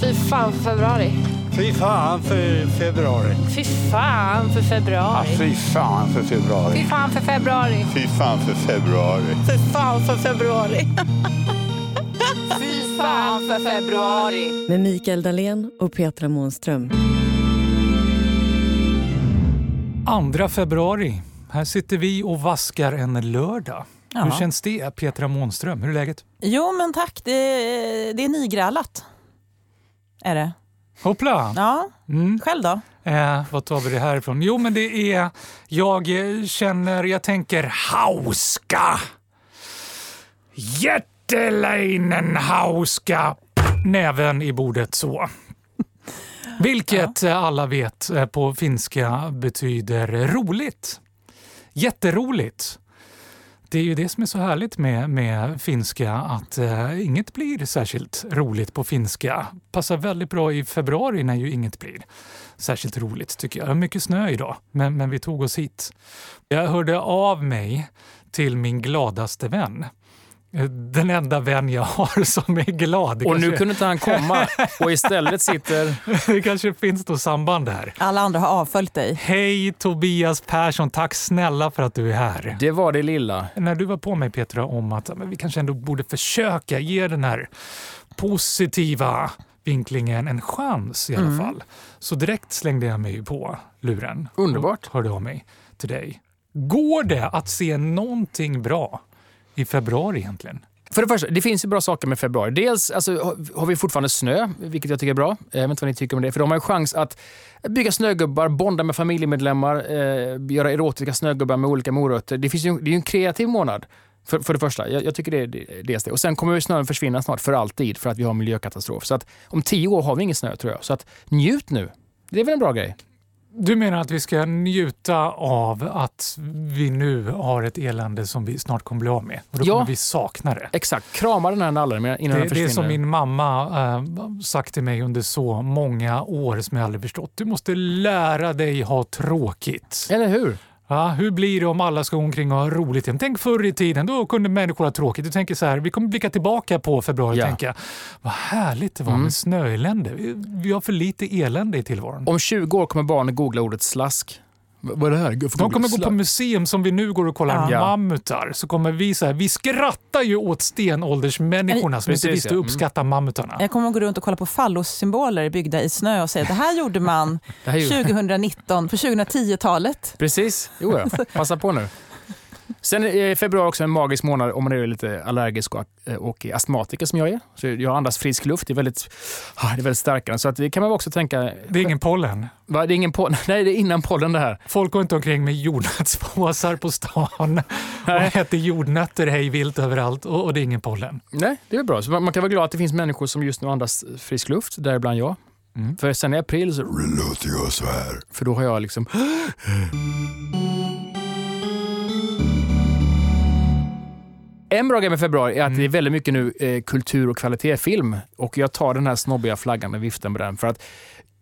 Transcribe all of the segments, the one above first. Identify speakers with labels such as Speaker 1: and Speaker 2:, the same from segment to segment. Speaker 1: Fy fan för februari.
Speaker 2: Fy fan för februari.
Speaker 1: Fy fan för
Speaker 2: Ja,
Speaker 3: Alltså-
Speaker 1: februari.
Speaker 2: fy fan för februari.
Speaker 1: Fy fan för februari.
Speaker 4: Fy fan för februari.
Speaker 3: Fy fan för februari.
Speaker 1: Fy fan för februari.
Speaker 5: Med Mikael Dahlén och Petra Månström.
Speaker 6: 2 februari. Här sitter vi och vaskar en lördag. Hur känns det, Petra Månström? Hur är läget?
Speaker 3: Jo, men tack. Det, det är nygrälat. Är det?
Speaker 6: Hoppla!
Speaker 3: Ja.
Speaker 6: Mm.
Speaker 3: Själv då?
Speaker 6: Eh, vad tar vi det här ifrån? Jo, men det är... Jag eh, känner... Jag tänker hauska. Jätteleinen hauska. Näven i bordet så. Vilket eh, alla vet eh, på finska betyder roligt. Jätteroligt. Det är ju det som är så härligt med, med finska, att eh, inget blir särskilt roligt på finska. Passar väldigt bra i februari när ju inget blir särskilt roligt tycker jag. Det var mycket snö idag, men, men vi tog oss hit. Jag hörde av mig till min gladaste vän. Eh, Den enda vän jag har som är glad. Det
Speaker 7: Och
Speaker 6: kanske,
Speaker 7: nu kunde inte han komma och istället sitter...
Speaker 6: det kanske finns något samband där.
Speaker 3: Alla andra har avföljt dig.
Speaker 6: Hej Tobias Persson, tack snälla för att du är här.
Speaker 7: Det var det lilla.
Speaker 6: När du var på mig Petra om att ja, men vi kanske ändå borde försöka ge den här positiva vinklingen en chans i alla
Speaker 7: Mm.
Speaker 6: fall. Så direkt slängde jag mig på luren.
Speaker 7: Underbart.
Speaker 6: Och hörde av mig till dig. Går det att se någonting bra i februari egentligen?
Speaker 7: För det första, det finns ju bra saker med februari. Dels alltså, har- har vi fortfarande snö, vilket jag tycker är bra. Jag vet inte vad ni tycker om det. För de har ju chans att bygga snögubbar, bonda med familjemedlemmar, eh, göra erotiska snögubbar med olika morötter. Det, finns ju, det är ju en kreativ månad. För, för det första, jag, jag tycker det är det- dels det. Och sen kommer ju snön försvinna snart, för alltid, för att vi har miljökatastrof. Så att om tio år har vi ingen snö tror jag. Så att njut nu. Det är väl en bra grej?
Speaker 6: Du menar att vi ska njuta av att vi nu har ett elände som vi snart kommer bli av med? Och då
Speaker 7: Ja.
Speaker 6: kommer vi sakna det.
Speaker 7: Exakt, krama den här nallen innan
Speaker 6: Det,
Speaker 7: den
Speaker 6: det
Speaker 7: försvinner.
Speaker 6: är som min mamma eh, sagt till mig under så många år som jag aldrig förstått. Du måste lära dig ha tråkigt.
Speaker 7: Eller hur?
Speaker 6: Ja, hur blir det om alla ska gå omkring och ha roligt? igen? Tänk förr i tiden, då kunde människor ha tråkigt. Du tänker så här, vi kommer blicka tillbaka på februari och
Speaker 7: Ja. Mm.
Speaker 6: tänka, vad härligt det var med snöelände. Vi, vi har för lite elände i tillvaron.
Speaker 7: Om 20 år kommer barnen googla ordet slask. V- vad är det här? Gud, får
Speaker 6: De
Speaker 7: googla
Speaker 6: kommer gå
Speaker 7: slask.
Speaker 6: på museum som vi nu går och kollar
Speaker 7: Ja.
Speaker 6: mammutar. Så kommer vi så här, vi skrattar ju åt stenåldersmänniskorna som inte
Speaker 7: Precis,
Speaker 6: visste
Speaker 7: ja.
Speaker 6: uppskatta mammutarna.
Speaker 3: Jag kommer att gå runt och kolla på fallossymboler byggda i snö och säga det här gjorde man
Speaker 7: Det här är ju-
Speaker 3: 2019, på 2010-talet.
Speaker 7: Precis. Jo, ja. passa på nu. Sen är februari också en magisk månad om man är lite allergisk och, och är astmatiker som jag är. Så jag andas frisk luft, det är väldigt, ah, det är väldigt starkare. Så att det kan man också tänka...
Speaker 6: Det är ingen pollen.
Speaker 7: Va, det är ingen på, nej, det är innan pollen det här.
Speaker 6: Folk går inte omkring med jordnötspåsar på stan och äter jordnötter hej vilt överallt och, och det är ingen pollen.
Speaker 7: Nej, det är bra. Så man, man kan vara glad att det finns människor som just nu andas frisk luft, däribland jag. För sen i april så låter jag så här. För då har jag liksom... En bra grej med februari är att det är väldigt mycket nu eh, kultur och kvalitetsfilm. Och jag tar den här snobbiga flaggan och viftar med den. För att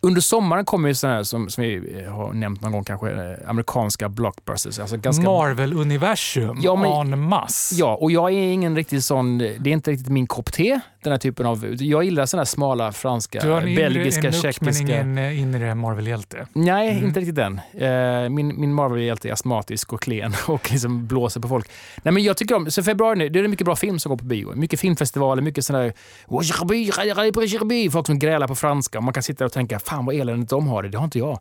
Speaker 7: under sommaren kommer ju sådana här, som, som vi eh, har nämnt någon gång kanske, eh, amerikanska blockbusters. Alltså ganska...
Speaker 6: Marvel-universum
Speaker 7: Ja, men-
Speaker 6: en masse.
Speaker 7: Ja, och jag är ingen riktig sån, det är inte riktigt min kopp te, den här typen av, jag gillar såna här smala franska,
Speaker 6: Du har en inre
Speaker 7: belgiska,
Speaker 6: Belgiska, nuck, men
Speaker 7: tjeckiska.
Speaker 6: ingen Mm. eh, inre Marvel-hjälte.
Speaker 7: Nej, inte riktigt den. Eh, Min, min Marvel-hjälte är astmatisk och klen och liksom blåser på folk. Nej, men jag tycker om, så februari nu, det är mycket bra film som går på bio. Mycket filmfestivaler, mycket sådana där... Folk som grälar på franska och man kan sitta och tänka, fan vad eländigt de har det, det har inte jag.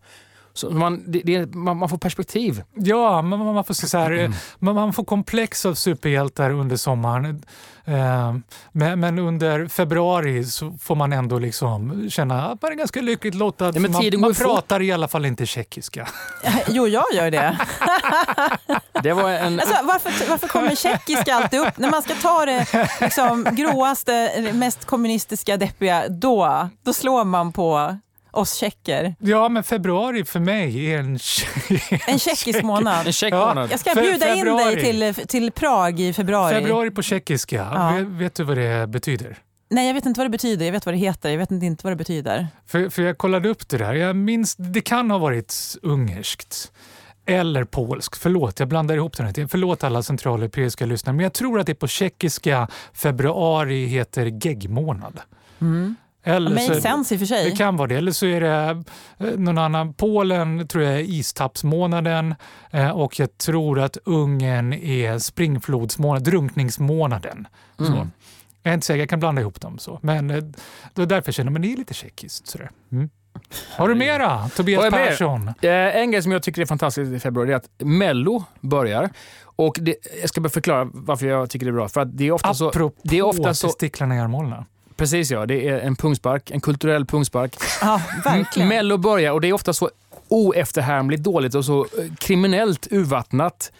Speaker 7: Så man, det, det, man, man får perspektiv.
Speaker 6: Ja, man, man, man får se så här, eh,
Speaker 7: Mm.
Speaker 6: man, man får komplex av superhjältar under sommaren. Eh, men, men under februari så får man ändå liksom känna att man är ganska lyckligt lottad.
Speaker 7: men
Speaker 6: för man
Speaker 7: tiden går
Speaker 6: man
Speaker 7: ju fort.
Speaker 6: pratar i alla fall inte tjeckiska.
Speaker 3: Jo, jag gör det.
Speaker 7: Det var en...
Speaker 3: Alltså, varför, varför kommer tjeckiska alltid upp? När man ska ta det liksom, gråaste, mest kommunistiska, deppiga, då, då slår man på oss tjecker.
Speaker 6: Ja, men februari för mig är en
Speaker 3: En tjeckisk månad.
Speaker 7: En check
Speaker 6: Ja.
Speaker 7: månad.
Speaker 3: Jag ska
Speaker 6: Fe-
Speaker 3: bjuda in dig
Speaker 6: februari.
Speaker 3: till, till Prag i februari.
Speaker 6: Februari på tjeckiska,
Speaker 3: Ja.
Speaker 6: Ve- vet du vad det betyder?
Speaker 3: Nej, jag vet inte vad det betyder. Jag vet vad det heter. Jag vet inte vad det betyder.
Speaker 6: För, för jag kollade upp det där. Jag minns, det kan ha varit ungerskt eller polskt. Förlåt, jag blandar ihop den här. Förlåt alla centraleuropeiska lyssnare, men jag tror att det på tjeckiska februari heter geggmånad. Eller
Speaker 3: Mm. Makes
Speaker 6: så,
Speaker 3: sense i och för sig.
Speaker 6: det kan vara det. Eller så är det eh, någon annan. Polen tror jag är istappsmånaden eh, och jag tror att Ungern är springflodsmånaden, drunkningsmånaden.
Speaker 7: Mm.
Speaker 6: Så. Jag är inte säker, jag kan blanda ihop dem. så. Men eh, det är därför jag känner, men det är lite tjeckiskt. sådär. Mm. Har du mera?
Speaker 7: Vad
Speaker 6: Tobias
Speaker 7: är mer?
Speaker 6: Persson?
Speaker 7: Eh, en grej som jag tycker är fantastiskt i februari är att Mello börjar. Och det, jag ska bara förklara varför jag tycker det är bra. För att det är ofta så...
Speaker 6: Apropå
Speaker 7: Alltså, det är ofta så-
Speaker 6: testiklarna i armhålorna.
Speaker 7: Precis ja, det är en pungspark. En kulturell pungspark.
Speaker 3: Ja, verkligen.
Speaker 6: Mm.
Speaker 7: Mello börjar och det är ofta så oefterhärmligt dåligt och så eh, kriminellt urvattnat.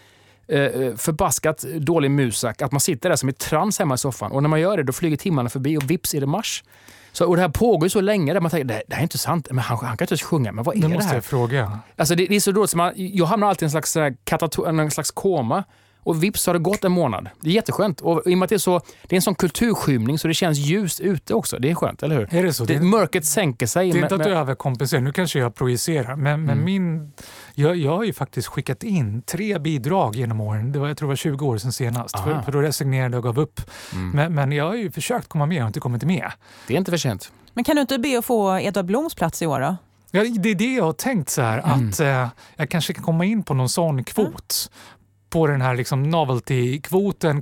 Speaker 7: eh, Förbaskat dålig musak. Att man sitter där som i trans hemma i soffan. Och när man gör det då flyger timmarna förbi och vips är det mars. Så, och det här pågår ju så länge där man tänker det här, det här är inte sant. Men han, han kan inte ens sjunga. Men vad är
Speaker 6: Nu
Speaker 7: det
Speaker 6: måste
Speaker 7: här?
Speaker 6: jag fråga.
Speaker 7: Alltså det, det är så dåligt, så man, jag hamnar alltid i en slags, sån här katato- en slags koma. Och vips så har det gått en månad. Det är jätteskönt. Och i och med att det är, så, det är en sån kulturskymning så det känns ljust ute också. Det är skönt, eller hur?
Speaker 6: Är det så?
Speaker 7: Det, mörkret sänker sig.
Speaker 6: Det är
Speaker 7: men-
Speaker 6: inte att
Speaker 7: men- Mm.
Speaker 6: du överkompenserar, nu kanske jag projicerar, men, men min, jag, jag har ju faktiskt skickat in tre bidrag genom åren. Det var, jag tror det var 20 år sedan senast, för,
Speaker 7: Aha.
Speaker 6: för då resignerade jag och gav upp. Men, men jag har ju försökt komma med och inte kommit med.
Speaker 7: Mm. det är inte för sent.
Speaker 3: Men kan du inte be att få Edvard Bloms plats i år då?
Speaker 6: Ja, det är det jag har tänkt, så här,
Speaker 7: Mm.
Speaker 6: att eh, jag kanske kan komma in på någon sån kvot. På den här liksom novelty-kvoten,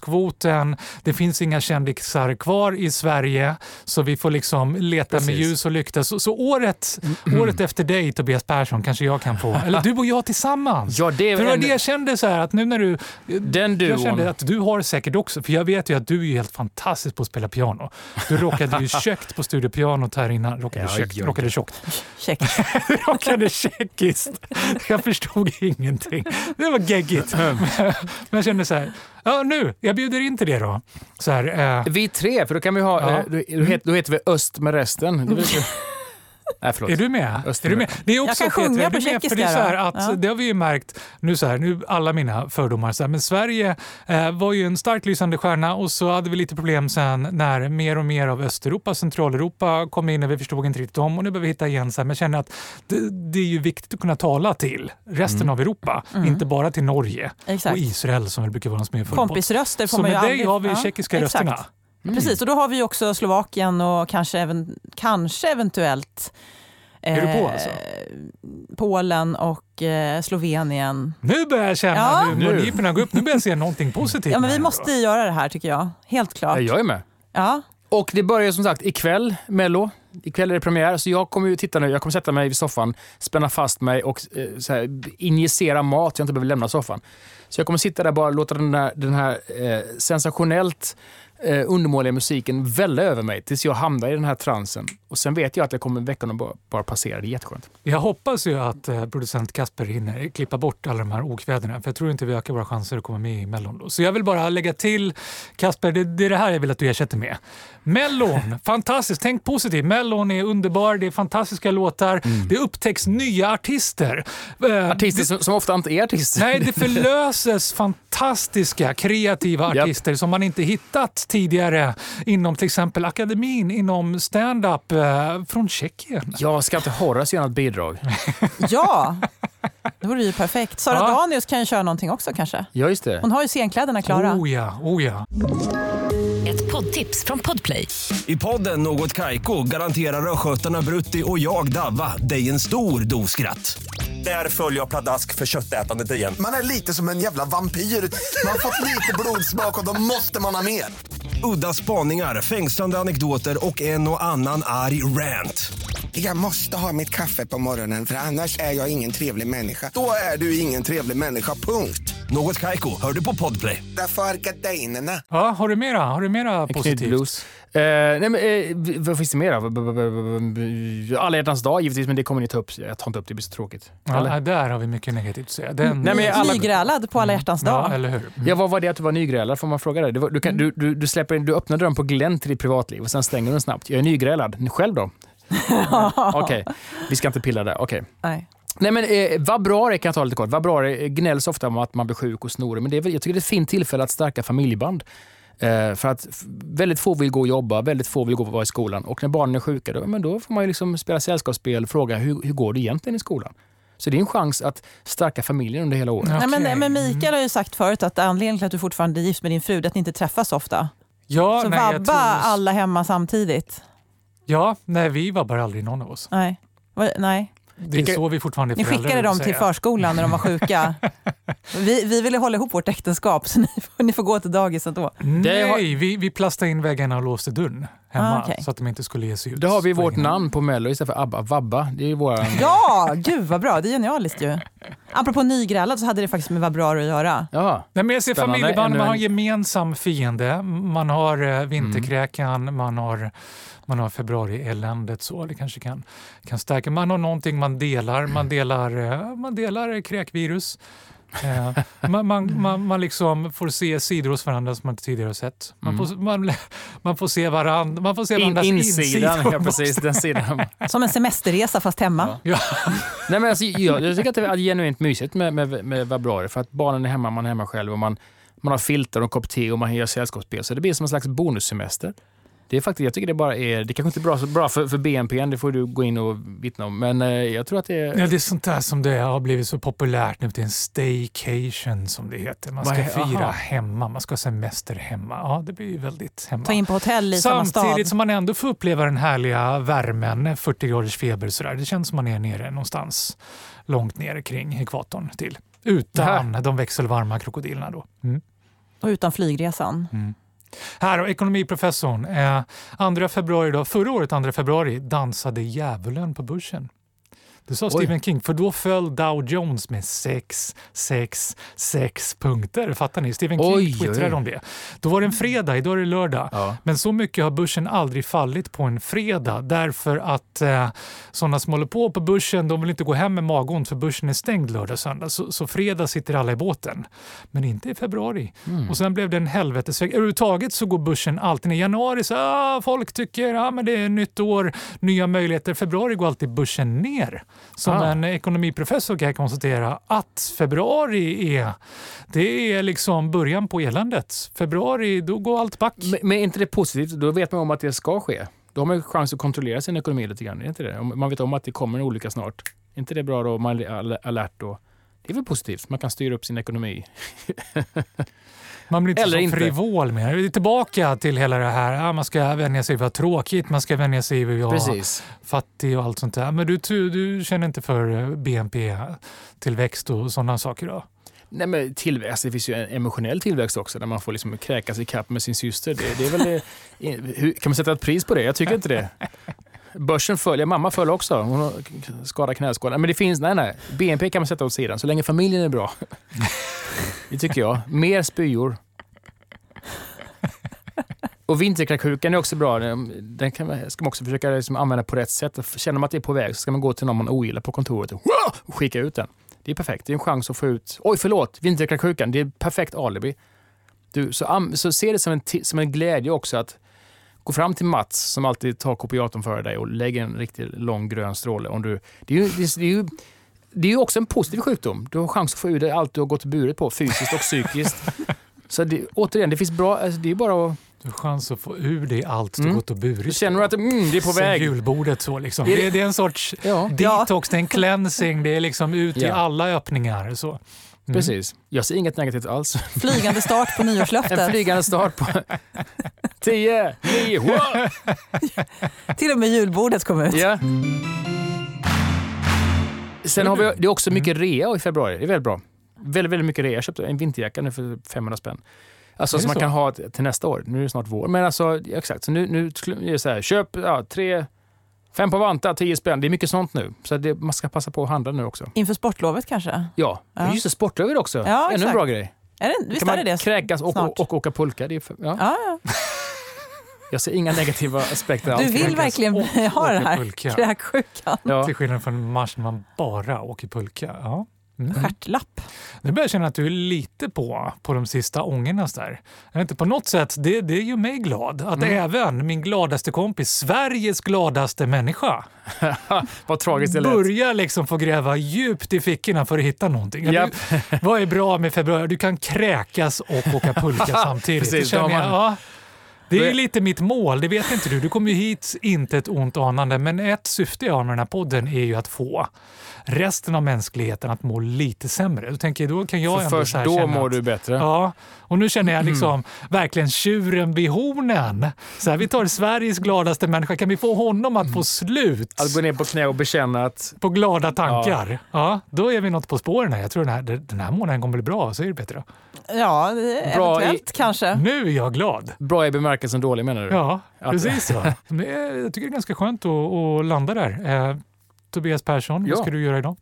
Speaker 6: konstighetskvoten. Det finns inga kändisar kvar i Sverige så vi får liksom leta med
Speaker 7: Precis. Mm.
Speaker 6: ljus och lykta. Så, så året, Mm. året efter dig Tobias Persson kanske jag kan få, eller du och jag tillsammans.
Speaker 7: Mm. Ja, det är
Speaker 6: För det var
Speaker 7: en-
Speaker 6: det jag kände så här att nu när du...
Speaker 7: Den
Speaker 6: Jag
Speaker 7: duon.
Speaker 6: kände att du har säkert också, för jag vet ju att du är ju helt fantastisk på att spela piano. Du rockade ju kökt på studiopianot här innan. Rockade
Speaker 7: Ja,
Speaker 6: kökt,
Speaker 7: ja,
Speaker 6: rockade
Speaker 7: ja.
Speaker 6: tjockt
Speaker 3: Check.
Speaker 6: rockade tjeckiskt. Jag förstod ingenting. Det var geggigt. Men jag kände så här, ja nu, jag bjuder in till det då. Så här, eh,
Speaker 7: Vi tre, för då kan vi ha...
Speaker 6: Ja. Mm.
Speaker 7: eh, Då, då, heter, då heter vi Öst med resten. Det blir så- Nej, förlåt.
Speaker 6: är du med? Är
Speaker 7: Österberg.
Speaker 6: du med? Det är också,
Speaker 3: kan sjunga
Speaker 6: Petra, är
Speaker 3: på
Speaker 6: du med? För det,
Speaker 3: tjeckiska
Speaker 6: är så här
Speaker 3: då.
Speaker 6: att,
Speaker 3: Ja.
Speaker 6: det har vi ju märkt, nu, så här, nu alla mina fördomar, så här, men Sverige eh, var ju en starkt lysande stjärna och så hade vi lite problem sen när mer och mer av Östeuropa, Centraleuropa kom in och vi förstod inte riktigt dem och nu behöver vi hitta igen. Så här, men jag känner att det, det är ju viktigt att kunna tala till resten av Europa,
Speaker 3: Mm.
Speaker 6: inte bara till Norge.
Speaker 3: Exakt.
Speaker 6: och Israel som väl brukar vara de som är för
Speaker 3: Kompisröster får
Speaker 6: Så
Speaker 3: man ju
Speaker 6: med dig
Speaker 3: aldrig-
Speaker 6: har vi
Speaker 3: Ja,
Speaker 6: tjeckiska
Speaker 3: exakt. Mm.
Speaker 6: rösterna.
Speaker 7: Mm.
Speaker 3: Precis, och då har vi ju också Slovakien och kanske, även, kanske eventuellt eh,
Speaker 6: Är du på alltså?
Speaker 3: Polen och eh, Slovenien.
Speaker 6: Nu börjar jag känna
Speaker 3: Ja.
Speaker 6: nu mungiporna går upp. Nu börjar jag se någonting positivt.
Speaker 3: Ja, men
Speaker 6: här
Speaker 3: vi
Speaker 6: ändå.
Speaker 3: måste göra det här tycker jag. Helt
Speaker 7: Ja,
Speaker 3: klart.
Speaker 7: Jag är med.
Speaker 3: Ja.
Speaker 7: Och det börjar som sagt ikväll, Mello. Ikväll är det premiär, så jag kommer ju titta nu. Jag kommer sätta mig i soffan, spänna fast mig och eh, så här, injicera mat så jag inte behöver lämna soffan. Så jag kommer sitta där bara och låta den här, den här eh, sensationellt eh, undermåliga musiken välla över mig tills jag hamnar i den här transen. Och sen vet jag att jag kommer veckan bara, bara passera. Det är jätteskönt.
Speaker 6: Jag hoppas ju att eh, producent Kasper hinner klippa bort alla de här okväderna för jag tror inte vi ökar våra chanser att komma med i Mellon då. Så jag vill bara lägga till, Kasper, det, det är det här jag vill att du ersätter med. Mellon, fantastiskt, tänk positivt. Mellon är underbar, det är fantastiska låtar, det upptäcks nya artister. Eh,
Speaker 7: Artister som, som ofta inte är artister.
Speaker 6: Nej, det förlöses fantastiska kreativa
Speaker 7: Japp.
Speaker 6: artister som man inte hittat tidigare inom till exempel akademin, inom stand-up eh, från Tjeckien.
Speaker 7: Jag ska inte Horace göra något bidrag?
Speaker 3: ja, det vore ju perfekt. Sara
Speaker 6: Ja.
Speaker 3: Danius kan ju köra någonting också kanske.
Speaker 7: Ja, just det.
Speaker 3: Hon har ju scenkläderna klara.
Speaker 6: Oh ja, oh ja.
Speaker 8: Ett poddtips från Podplay.
Speaker 9: I podden Något Kaiko garanterar östgötarna Brutti och jag, Davva, dig en stor dos skratt. Där följer jag pladask för köttätandet igen.
Speaker 10: Man är lite som en jävla vampyr. Man har fått lite blodsmak och då måste man ha mer.
Speaker 9: Udda spaningar, fängslande anekdoter och en och annan arg rant.
Speaker 10: Jag måste ha mitt kaffe på morgonen för annars är jag ingen trevlig människa. Då är du ingen trevlig människa, punkt.
Speaker 9: Något Kaiko, hör du på Podplay.
Speaker 10: Därför är gardinerna.
Speaker 6: Ja, har du mera? Har du mera positivt?
Speaker 7: Knytblues. Eh, nej men, eh, v- vad finns det mer? då? B- b- b- b- Alla hjärtans dag givetvis, men det kommer ni ta upp. Jag tar inte upp det, det blir så tråkigt.
Speaker 6: Ja,
Speaker 7: Eller?
Speaker 6: nej, där har vi mycket negativt att säga. Den,
Speaker 7: Nej, men jag- alla-
Speaker 3: Nygrälad på alla hjärtans dag.
Speaker 6: ja, eller hur?
Speaker 7: Ja, vad var det att du var nygrälad? Får man fråga det? Du, var- du, kan,
Speaker 6: Mm.
Speaker 7: du, du, du, släpper in, du öppnar dörren på glänt i ditt privatliv och sen stänger du den snabbt. Jag är nygrälad. Själv då? Okej, vi ska inte pilla där. Okej.
Speaker 3: Nej.
Speaker 7: Nej men eh, vabrari kan jag ta lite kort. Vabrari eh, gnälls ofta om att man blir sjuk och snorig, men det är väl, jag tycker det är ett fint tillfälle att stärka familjeband. Eh, för att f- väldigt få vill gå och jobba, väldigt få vill gå och vara i skolan. Och när barnen är sjuka, då, men då får man ju liksom spela sällskapsspel och fråga hur, hur går det egentligen i skolan? Så det är en chans att stärka familjen under hela året.
Speaker 6: Ja.
Speaker 3: Nej,
Speaker 6: Okej.
Speaker 3: men, men Mikael har ju sagt förut att anledningen till att du fortfarande är gift med din fru är att ni inte träffas ofta.
Speaker 6: Ja,
Speaker 3: Så
Speaker 6: nej, jag
Speaker 3: vabba
Speaker 6: tror-
Speaker 3: alla hemma samtidigt.
Speaker 6: Ja, nej, vi vabbar aldrig någon av oss.
Speaker 3: Nej. Va- Nej.
Speaker 6: Det är så vi fortfarande är
Speaker 3: Ni
Speaker 6: föräldrar,
Speaker 3: skickade
Speaker 6: vill
Speaker 3: dem
Speaker 6: säga.
Speaker 3: till förskolan när de var sjuka. Vi, vi ville hålla ihop vårt äktenskap, så ni får, ni får gå till dagis ändå.
Speaker 6: Nej,
Speaker 7: Det har-
Speaker 6: vi, vi plastade in väggarna och låste dörren hemma
Speaker 3: Ah, okej.
Speaker 6: så att de inte skulle ge sig ut.
Speaker 7: Då har vi
Speaker 6: på
Speaker 7: vårt
Speaker 6: egen hand.
Speaker 7: namn på Mello istället för ABBA. Vabba. Det är ju våra...
Speaker 3: Ja, gud vad bra. Det är genialiskt ju. Apropå nygrälat så hade det faktiskt med vad bra att göra.
Speaker 7: Ja.
Speaker 6: Nej, men jag ser
Speaker 7: Spännande.
Speaker 6: familjeband,
Speaker 7: Ännu
Speaker 6: man har
Speaker 7: en- Mm.
Speaker 6: en gemensam fiende. Man har eh, vinterkräkan, man har, man har februarieländet. Så det kanske kan, kan stärka. Man har någonting man delar. Man delar, eh, man delar kräkvirus. Eh, man, man, man, man liksom får se sidor hos varandra som man inte tidigare har sett. Man, får, man, man får se varandra. Man får se
Speaker 7: Mm. In,
Speaker 6: varandras
Speaker 7: insidan,
Speaker 6: insidor.
Speaker 7: ja precis. Den sidan.
Speaker 3: Som en semesterresa fast hemma.
Speaker 6: Ja.
Speaker 7: Nej, men alltså, jag, jag tycker att det är genuint mysigt med, med, med Vabruari för att barnen är hemma, man är hemma själv och man, man har filtar och en kopp te och man gör sällskapsspel. Så det blir som en slags bonussemester. Det är faktiskt, jag tycker det bara är, det kanske inte är bra, så bra för, för BNP, det får du gå in och vittna om, men eh, jag tror att det är...
Speaker 6: Ja, det är sånt där som det har blivit så populärt nu. Det är en staycation som det heter. Man ska
Speaker 7: Vad he-
Speaker 6: fira
Speaker 7: aha.
Speaker 6: hemma, man ska ha semester hemma. Ja, det blir ju väldigt hemma.
Speaker 3: Ta in på hotell i samma stad.
Speaker 6: Samtidigt som man ändå får uppleva den härliga värmen, 40 graders feber och sådär. Det känns som man är nere någonstans långt nere kring ekvatorn till. Utan de växelvarma krokodilerna då. Mm.
Speaker 3: Och utan flygresan.
Speaker 6: Här har ekonomiprofessorn. Eh, 2 februari då, förra året, 2 februari, dansade djävulen på börsen. Det sa Stephen King, för då föll Dow Jones med 6, 6, 6 punkter. Fattar ni? Stephen King
Speaker 7: Oj, oj.
Speaker 6: twittrade om det. Då var det en fredag, idag är det lördag.
Speaker 7: Ja.
Speaker 6: Men så mycket har börsen aldrig fallit på en fredag därför att eh, sådana som håller på på börsen de vill inte gå hem med magont för börsen är stängd lördag och söndag. Så, så fredag sitter alla i båten. Men inte i februari.
Speaker 7: Mm.
Speaker 6: Och sen blev det en helvetesväg. Överhuvudtaget så går börsen alltid ner. I januari så ah, folk tycker ah, men det är nytt år, nya möjligheter. Februari går alltid börsen ner. Som
Speaker 7: Ah.
Speaker 6: en ekonomiprofessor kan jag konstatera att februari är, det är liksom början på eländet. Februari, då går allt back.
Speaker 7: Men, men är inte det positivt? Då vet man om att det ska ske. Då har man ju chans att kontrollera sin ekonomi lite grann. Är inte det? Om man vet om att det kommer en olycka snart. Är inte det bra då? om Man är al- alert då. Det är väl positivt? Man kan styra upp sin ekonomi.
Speaker 6: Man blir inte
Speaker 7: Eller
Speaker 6: så
Speaker 7: inte.
Speaker 6: frivol mer. Vi är tillbaka till hela det här. Ah, man ska vänja sig vid vad tråkigt, man ska vänja sig vid vad fattig och allt sånt där. Men du, du, du känner inte för BNP-tillväxt och sådana saker då?
Speaker 7: Nej, men tillväxt, det finns ju en emotionell tillväxt också där man får liksom kräkas i kapp med sin syster. Det, det är väl, eh, hur, kan man sätta ett pris på det? Jag tycker inte det. Börsen följer, mamma följer också. Hon har k- skadad knäskål. Men det finns, nej nej. BNP kan man sätta åt sidan så länge familjen är bra. Det tycker jag. Mer spyor. Och vinterkräksjukan är också bra. Den den kan, man- ska man också försöka liksom använda på rätt sätt. Känner man att det är på väg så ska man gå till någon man ogillar på kontoret och, och skicka ut den. Det är perfekt. Det är en chans att få ut... Oj, förlåt! Vinterkräksjukan. Det är ett perfekt alibi. Du, så, am- så se det som en, ti- som en glädje också att gå fram till Mats som alltid tar kopiatorn före dig och lägger en riktigt lång grön stråle. Om du, det, är ju, det, är, det, är ju, det är ju också en positiv sjukdom. Du har chans att få ur dig allt du har gått buret på, fysiskt och psykiskt. Så det, återigen, det finns bra... Alltså det är bara att...
Speaker 6: Du har chans att få ur dig allt du
Speaker 7: Mm.
Speaker 6: gått och burit.
Speaker 7: Känner du att mm, det är på
Speaker 6: Sen
Speaker 7: väg?
Speaker 6: julbordet så liksom.
Speaker 7: Är det-
Speaker 6: Det, det är en sorts
Speaker 7: Ja.
Speaker 6: detox, det är en cleansing, det är liksom ut i
Speaker 7: Ja.
Speaker 6: alla öppningar. Så. Mm.
Speaker 7: Precis. Jag ser inget negativt alls.
Speaker 3: Flygande start på
Speaker 7: En
Speaker 3: nyårslöftet.
Speaker 7: flygande start på... 10, 9, wow!
Speaker 3: Till och med julbordet kom ut.
Speaker 7: Ja. Sen har vi, det är också mycket rea i februari. Det är väldigt bra. Väldigt, väldigt mycket rea. Jag köpte en vinterjacka nu för 500 spänn. Alltså
Speaker 6: Är
Speaker 7: som
Speaker 6: det
Speaker 7: man
Speaker 6: så?
Speaker 7: kan ha t- till nästa år. Nu är det snart vår. Men alltså, ja, exakt. Så nu, nu skulle- är det så här, köp ja, tre, fem på Vanta, 10 spänn. Det är mycket sånt nu. Så det, man ska passa på att handla nu också.
Speaker 3: Inför sportlovet kanske?
Speaker 7: Ja,
Speaker 3: Ja.
Speaker 7: just det. Sportöver också.
Speaker 3: Ja,
Speaker 7: Ännu en
Speaker 3: exakt.
Speaker 7: bra grej.
Speaker 3: Är det, visst
Speaker 7: kan
Speaker 3: är
Speaker 7: man
Speaker 3: det det?
Speaker 7: kräkas och,
Speaker 3: snart?
Speaker 7: och, och åka pulka. Det är för, ja.
Speaker 3: Ja, ja.
Speaker 7: Jag ser inga negativa aspekter alls.
Speaker 3: Du vill
Speaker 6: kräkas
Speaker 3: verkligen
Speaker 6: och
Speaker 3: ha den här
Speaker 6: åkerpulka.
Speaker 3: kräksjukan.
Speaker 7: Ja.
Speaker 6: Till skillnad från mars när man bara åker pulka. Ja.
Speaker 7: Mm.
Speaker 3: Stjärtlapp.
Speaker 6: Nu börjar jag känna att du är lite på, på de sista ångornas där. Jag vet inte, på något sätt, det, det gör mig glad att även min gladaste kompis, Sveriges gladaste människa,
Speaker 7: Vad tragiskt det lät.
Speaker 6: börjar liksom få gräva djupt i fickorna för att hitta någonting. Ja,
Speaker 7: Japp.
Speaker 6: Du, vad är bra med februari? Du kan kräkas och åka pulka samtidigt.
Speaker 7: Precis,
Speaker 6: Det
Speaker 7: då
Speaker 6: känner
Speaker 7: har
Speaker 6: jag,
Speaker 7: man-
Speaker 6: ja, Det är ju lite mitt mål, det vet inte du. Du kommer ju hit inte ett ont anande, men ett syfte jag har med den här podden är ju att få resten av mänskligheten att må lite sämre. Då tänker jag, då kan jag
Speaker 7: För
Speaker 6: ändå
Speaker 7: först
Speaker 6: så här
Speaker 7: då
Speaker 6: känna
Speaker 7: mår
Speaker 6: att,
Speaker 7: du bättre. Mm.
Speaker 6: Ja, och nu känner jag liksom verkligen tjuren vid hornen. Så här, vi tar Sveriges gladaste människa, kan vi få honom att få slut
Speaker 7: Mm. Att gå ner på knä och bekänna att
Speaker 6: på glada tankar? Ja. då är vi något på spåren här. Jag tror den här, den här månaden kommer bli bra, säger Petra.
Speaker 3: Ja, det-
Speaker 7: Bra i- Mm.
Speaker 3: eventuellt kanske.
Speaker 6: Nu är jag glad.
Speaker 7: bra i bemärkelsen dålig menar du?
Speaker 6: Ja,
Speaker 7: Att-
Speaker 6: precis så. Men det är- Jag tycker det är ganska skönt att, att landa där. Eh, Tobias Persson,
Speaker 7: Ja.
Speaker 6: vad ska du göra idag?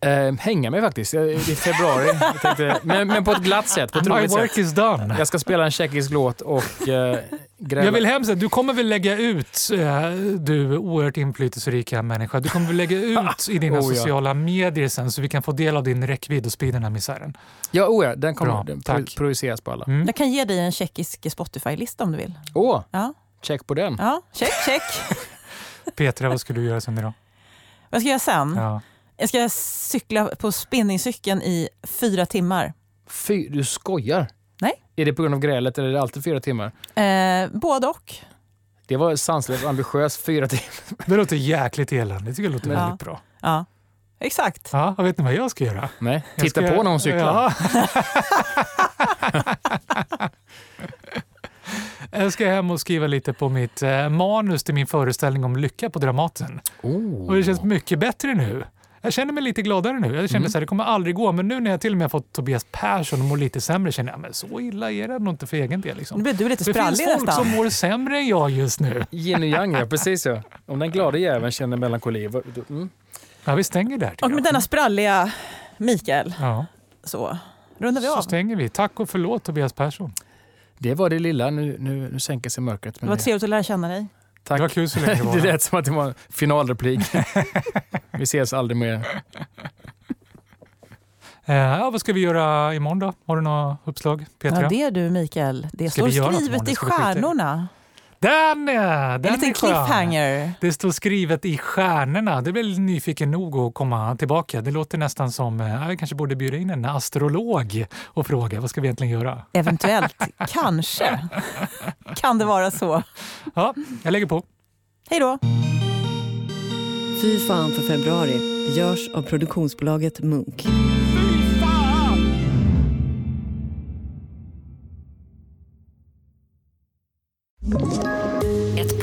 Speaker 7: Eh, hänga mig faktiskt. Jag- Det är februari. Jag tänkte, men, men på ett glatt sätt, på ett
Speaker 6: My
Speaker 7: roligt
Speaker 6: work
Speaker 7: sätt.
Speaker 6: is done.
Speaker 7: Jag ska spela en tjeckisk låt och eh, gräva.
Speaker 6: Jag vill hemskt att du kommer väl lägga ut, eh, du oerhört inflytelserika människa, du kommer väl lägga ut i dina
Speaker 7: Oh, ja.
Speaker 6: sociala medier sen så vi kan få del av din räckvidd och sprida den här misären.
Speaker 7: Ja, oh ja, den kommer
Speaker 6: Bra,
Speaker 7: den
Speaker 6: tack.
Speaker 7: pro- projiceras på alla. Åh,
Speaker 6: Mm.
Speaker 3: Jag kan ge dig en tjeckisk Spotify-lista om du vill. Ja,
Speaker 7: check på den.
Speaker 3: ja check, check.
Speaker 6: Petra, vad ska du göra sen idag?
Speaker 3: Vad ska jag göra sen?
Speaker 7: Mm.
Speaker 6: Ja.
Speaker 3: Jag ska cykla på spinningcykeln i fyra timmar.
Speaker 7: Fy, du skojar?
Speaker 3: Nej.
Speaker 7: Är det på grund av grälet eller är det alltid fyra timmar?
Speaker 3: Eh, både och.
Speaker 7: Det var sanslöst och ambitiöst. Fyra timmar.
Speaker 6: Det låter jäkligt elände, det tycker jag låter
Speaker 3: Ja.
Speaker 6: väldigt bra.
Speaker 3: Ja, exakt.
Speaker 6: Ja, och vet ni vad jag ska göra?
Speaker 7: Nej,
Speaker 6: Jag
Speaker 7: titta
Speaker 6: ska-
Speaker 7: på när hon cyklar.
Speaker 6: Ja. jag ska hem och skriva lite på mitt eh, manus till min föreställning om lycka på Dramaten.
Speaker 7: Oh.
Speaker 6: Och det känns mycket bättre nu. Jag känner mig lite gladare nu. Jag känner
Speaker 7: Mm.
Speaker 6: så här, det kommer aldrig gå. Men nu när jag till och med har fått Tobias Persson att må lite sämre känner jag, men så illa är det nog inte för egen del.
Speaker 3: Nu
Speaker 6: Liksom.
Speaker 3: blir du
Speaker 6: Det
Speaker 3: lite
Speaker 6: finns
Speaker 3: sprallig
Speaker 6: folk
Speaker 3: nästan.
Speaker 6: som mår sämre än jag just nu.
Speaker 7: Yin och yang, ja. Precis ja. Om den glada jäveln känner melankoli. vad- då- Mm.
Speaker 6: Ja, vi stänger där. tycker
Speaker 3: Och med
Speaker 6: jag.
Speaker 3: denna spralliga Mikael
Speaker 6: Ja,
Speaker 3: så rundar vi
Speaker 6: så
Speaker 3: av.
Speaker 6: stänger vi. Tack och förlåt Tobias Persson.
Speaker 7: Det var det lilla. Nu, nu, nu sänker sig mörkret.
Speaker 3: Det
Speaker 7: men
Speaker 3: var
Speaker 7: det-
Speaker 3: trevligt att lära känna dig.
Speaker 7: Tack.
Speaker 6: Det var kul så länge det var.
Speaker 7: Det lät som att det var en finalreplik. Vi ses aldrig mer.
Speaker 6: Eh, ja, vad ska vi göra imorgon då? Har du några uppslag Petra?
Speaker 3: Ja, det är du Mikael. Det
Speaker 6: Ska
Speaker 3: står
Speaker 6: vi göra något
Speaker 3: skrivet
Speaker 6: imorgon?
Speaker 3: i
Speaker 6: Ska vi skita i det?
Speaker 3: stjärnorna.
Speaker 6: Den, är-
Speaker 3: En
Speaker 6: den
Speaker 3: liten
Speaker 6: är skön.
Speaker 3: cliffhanger.
Speaker 6: Det står skrivet i stjärnorna. Det är väl nyfiken nog att komma tillbaka. Det låter nästan som eh, jag kanske borde bjuda in en astrolog och fråga vad ska vi egentligen göra?
Speaker 3: Eventuellt, kanske, kan det vara så.
Speaker 6: Ja, jag lägger på.
Speaker 3: Hej då!
Speaker 5: Fy fan för februari görs av produktionsbolaget Munk.
Speaker 8: Ett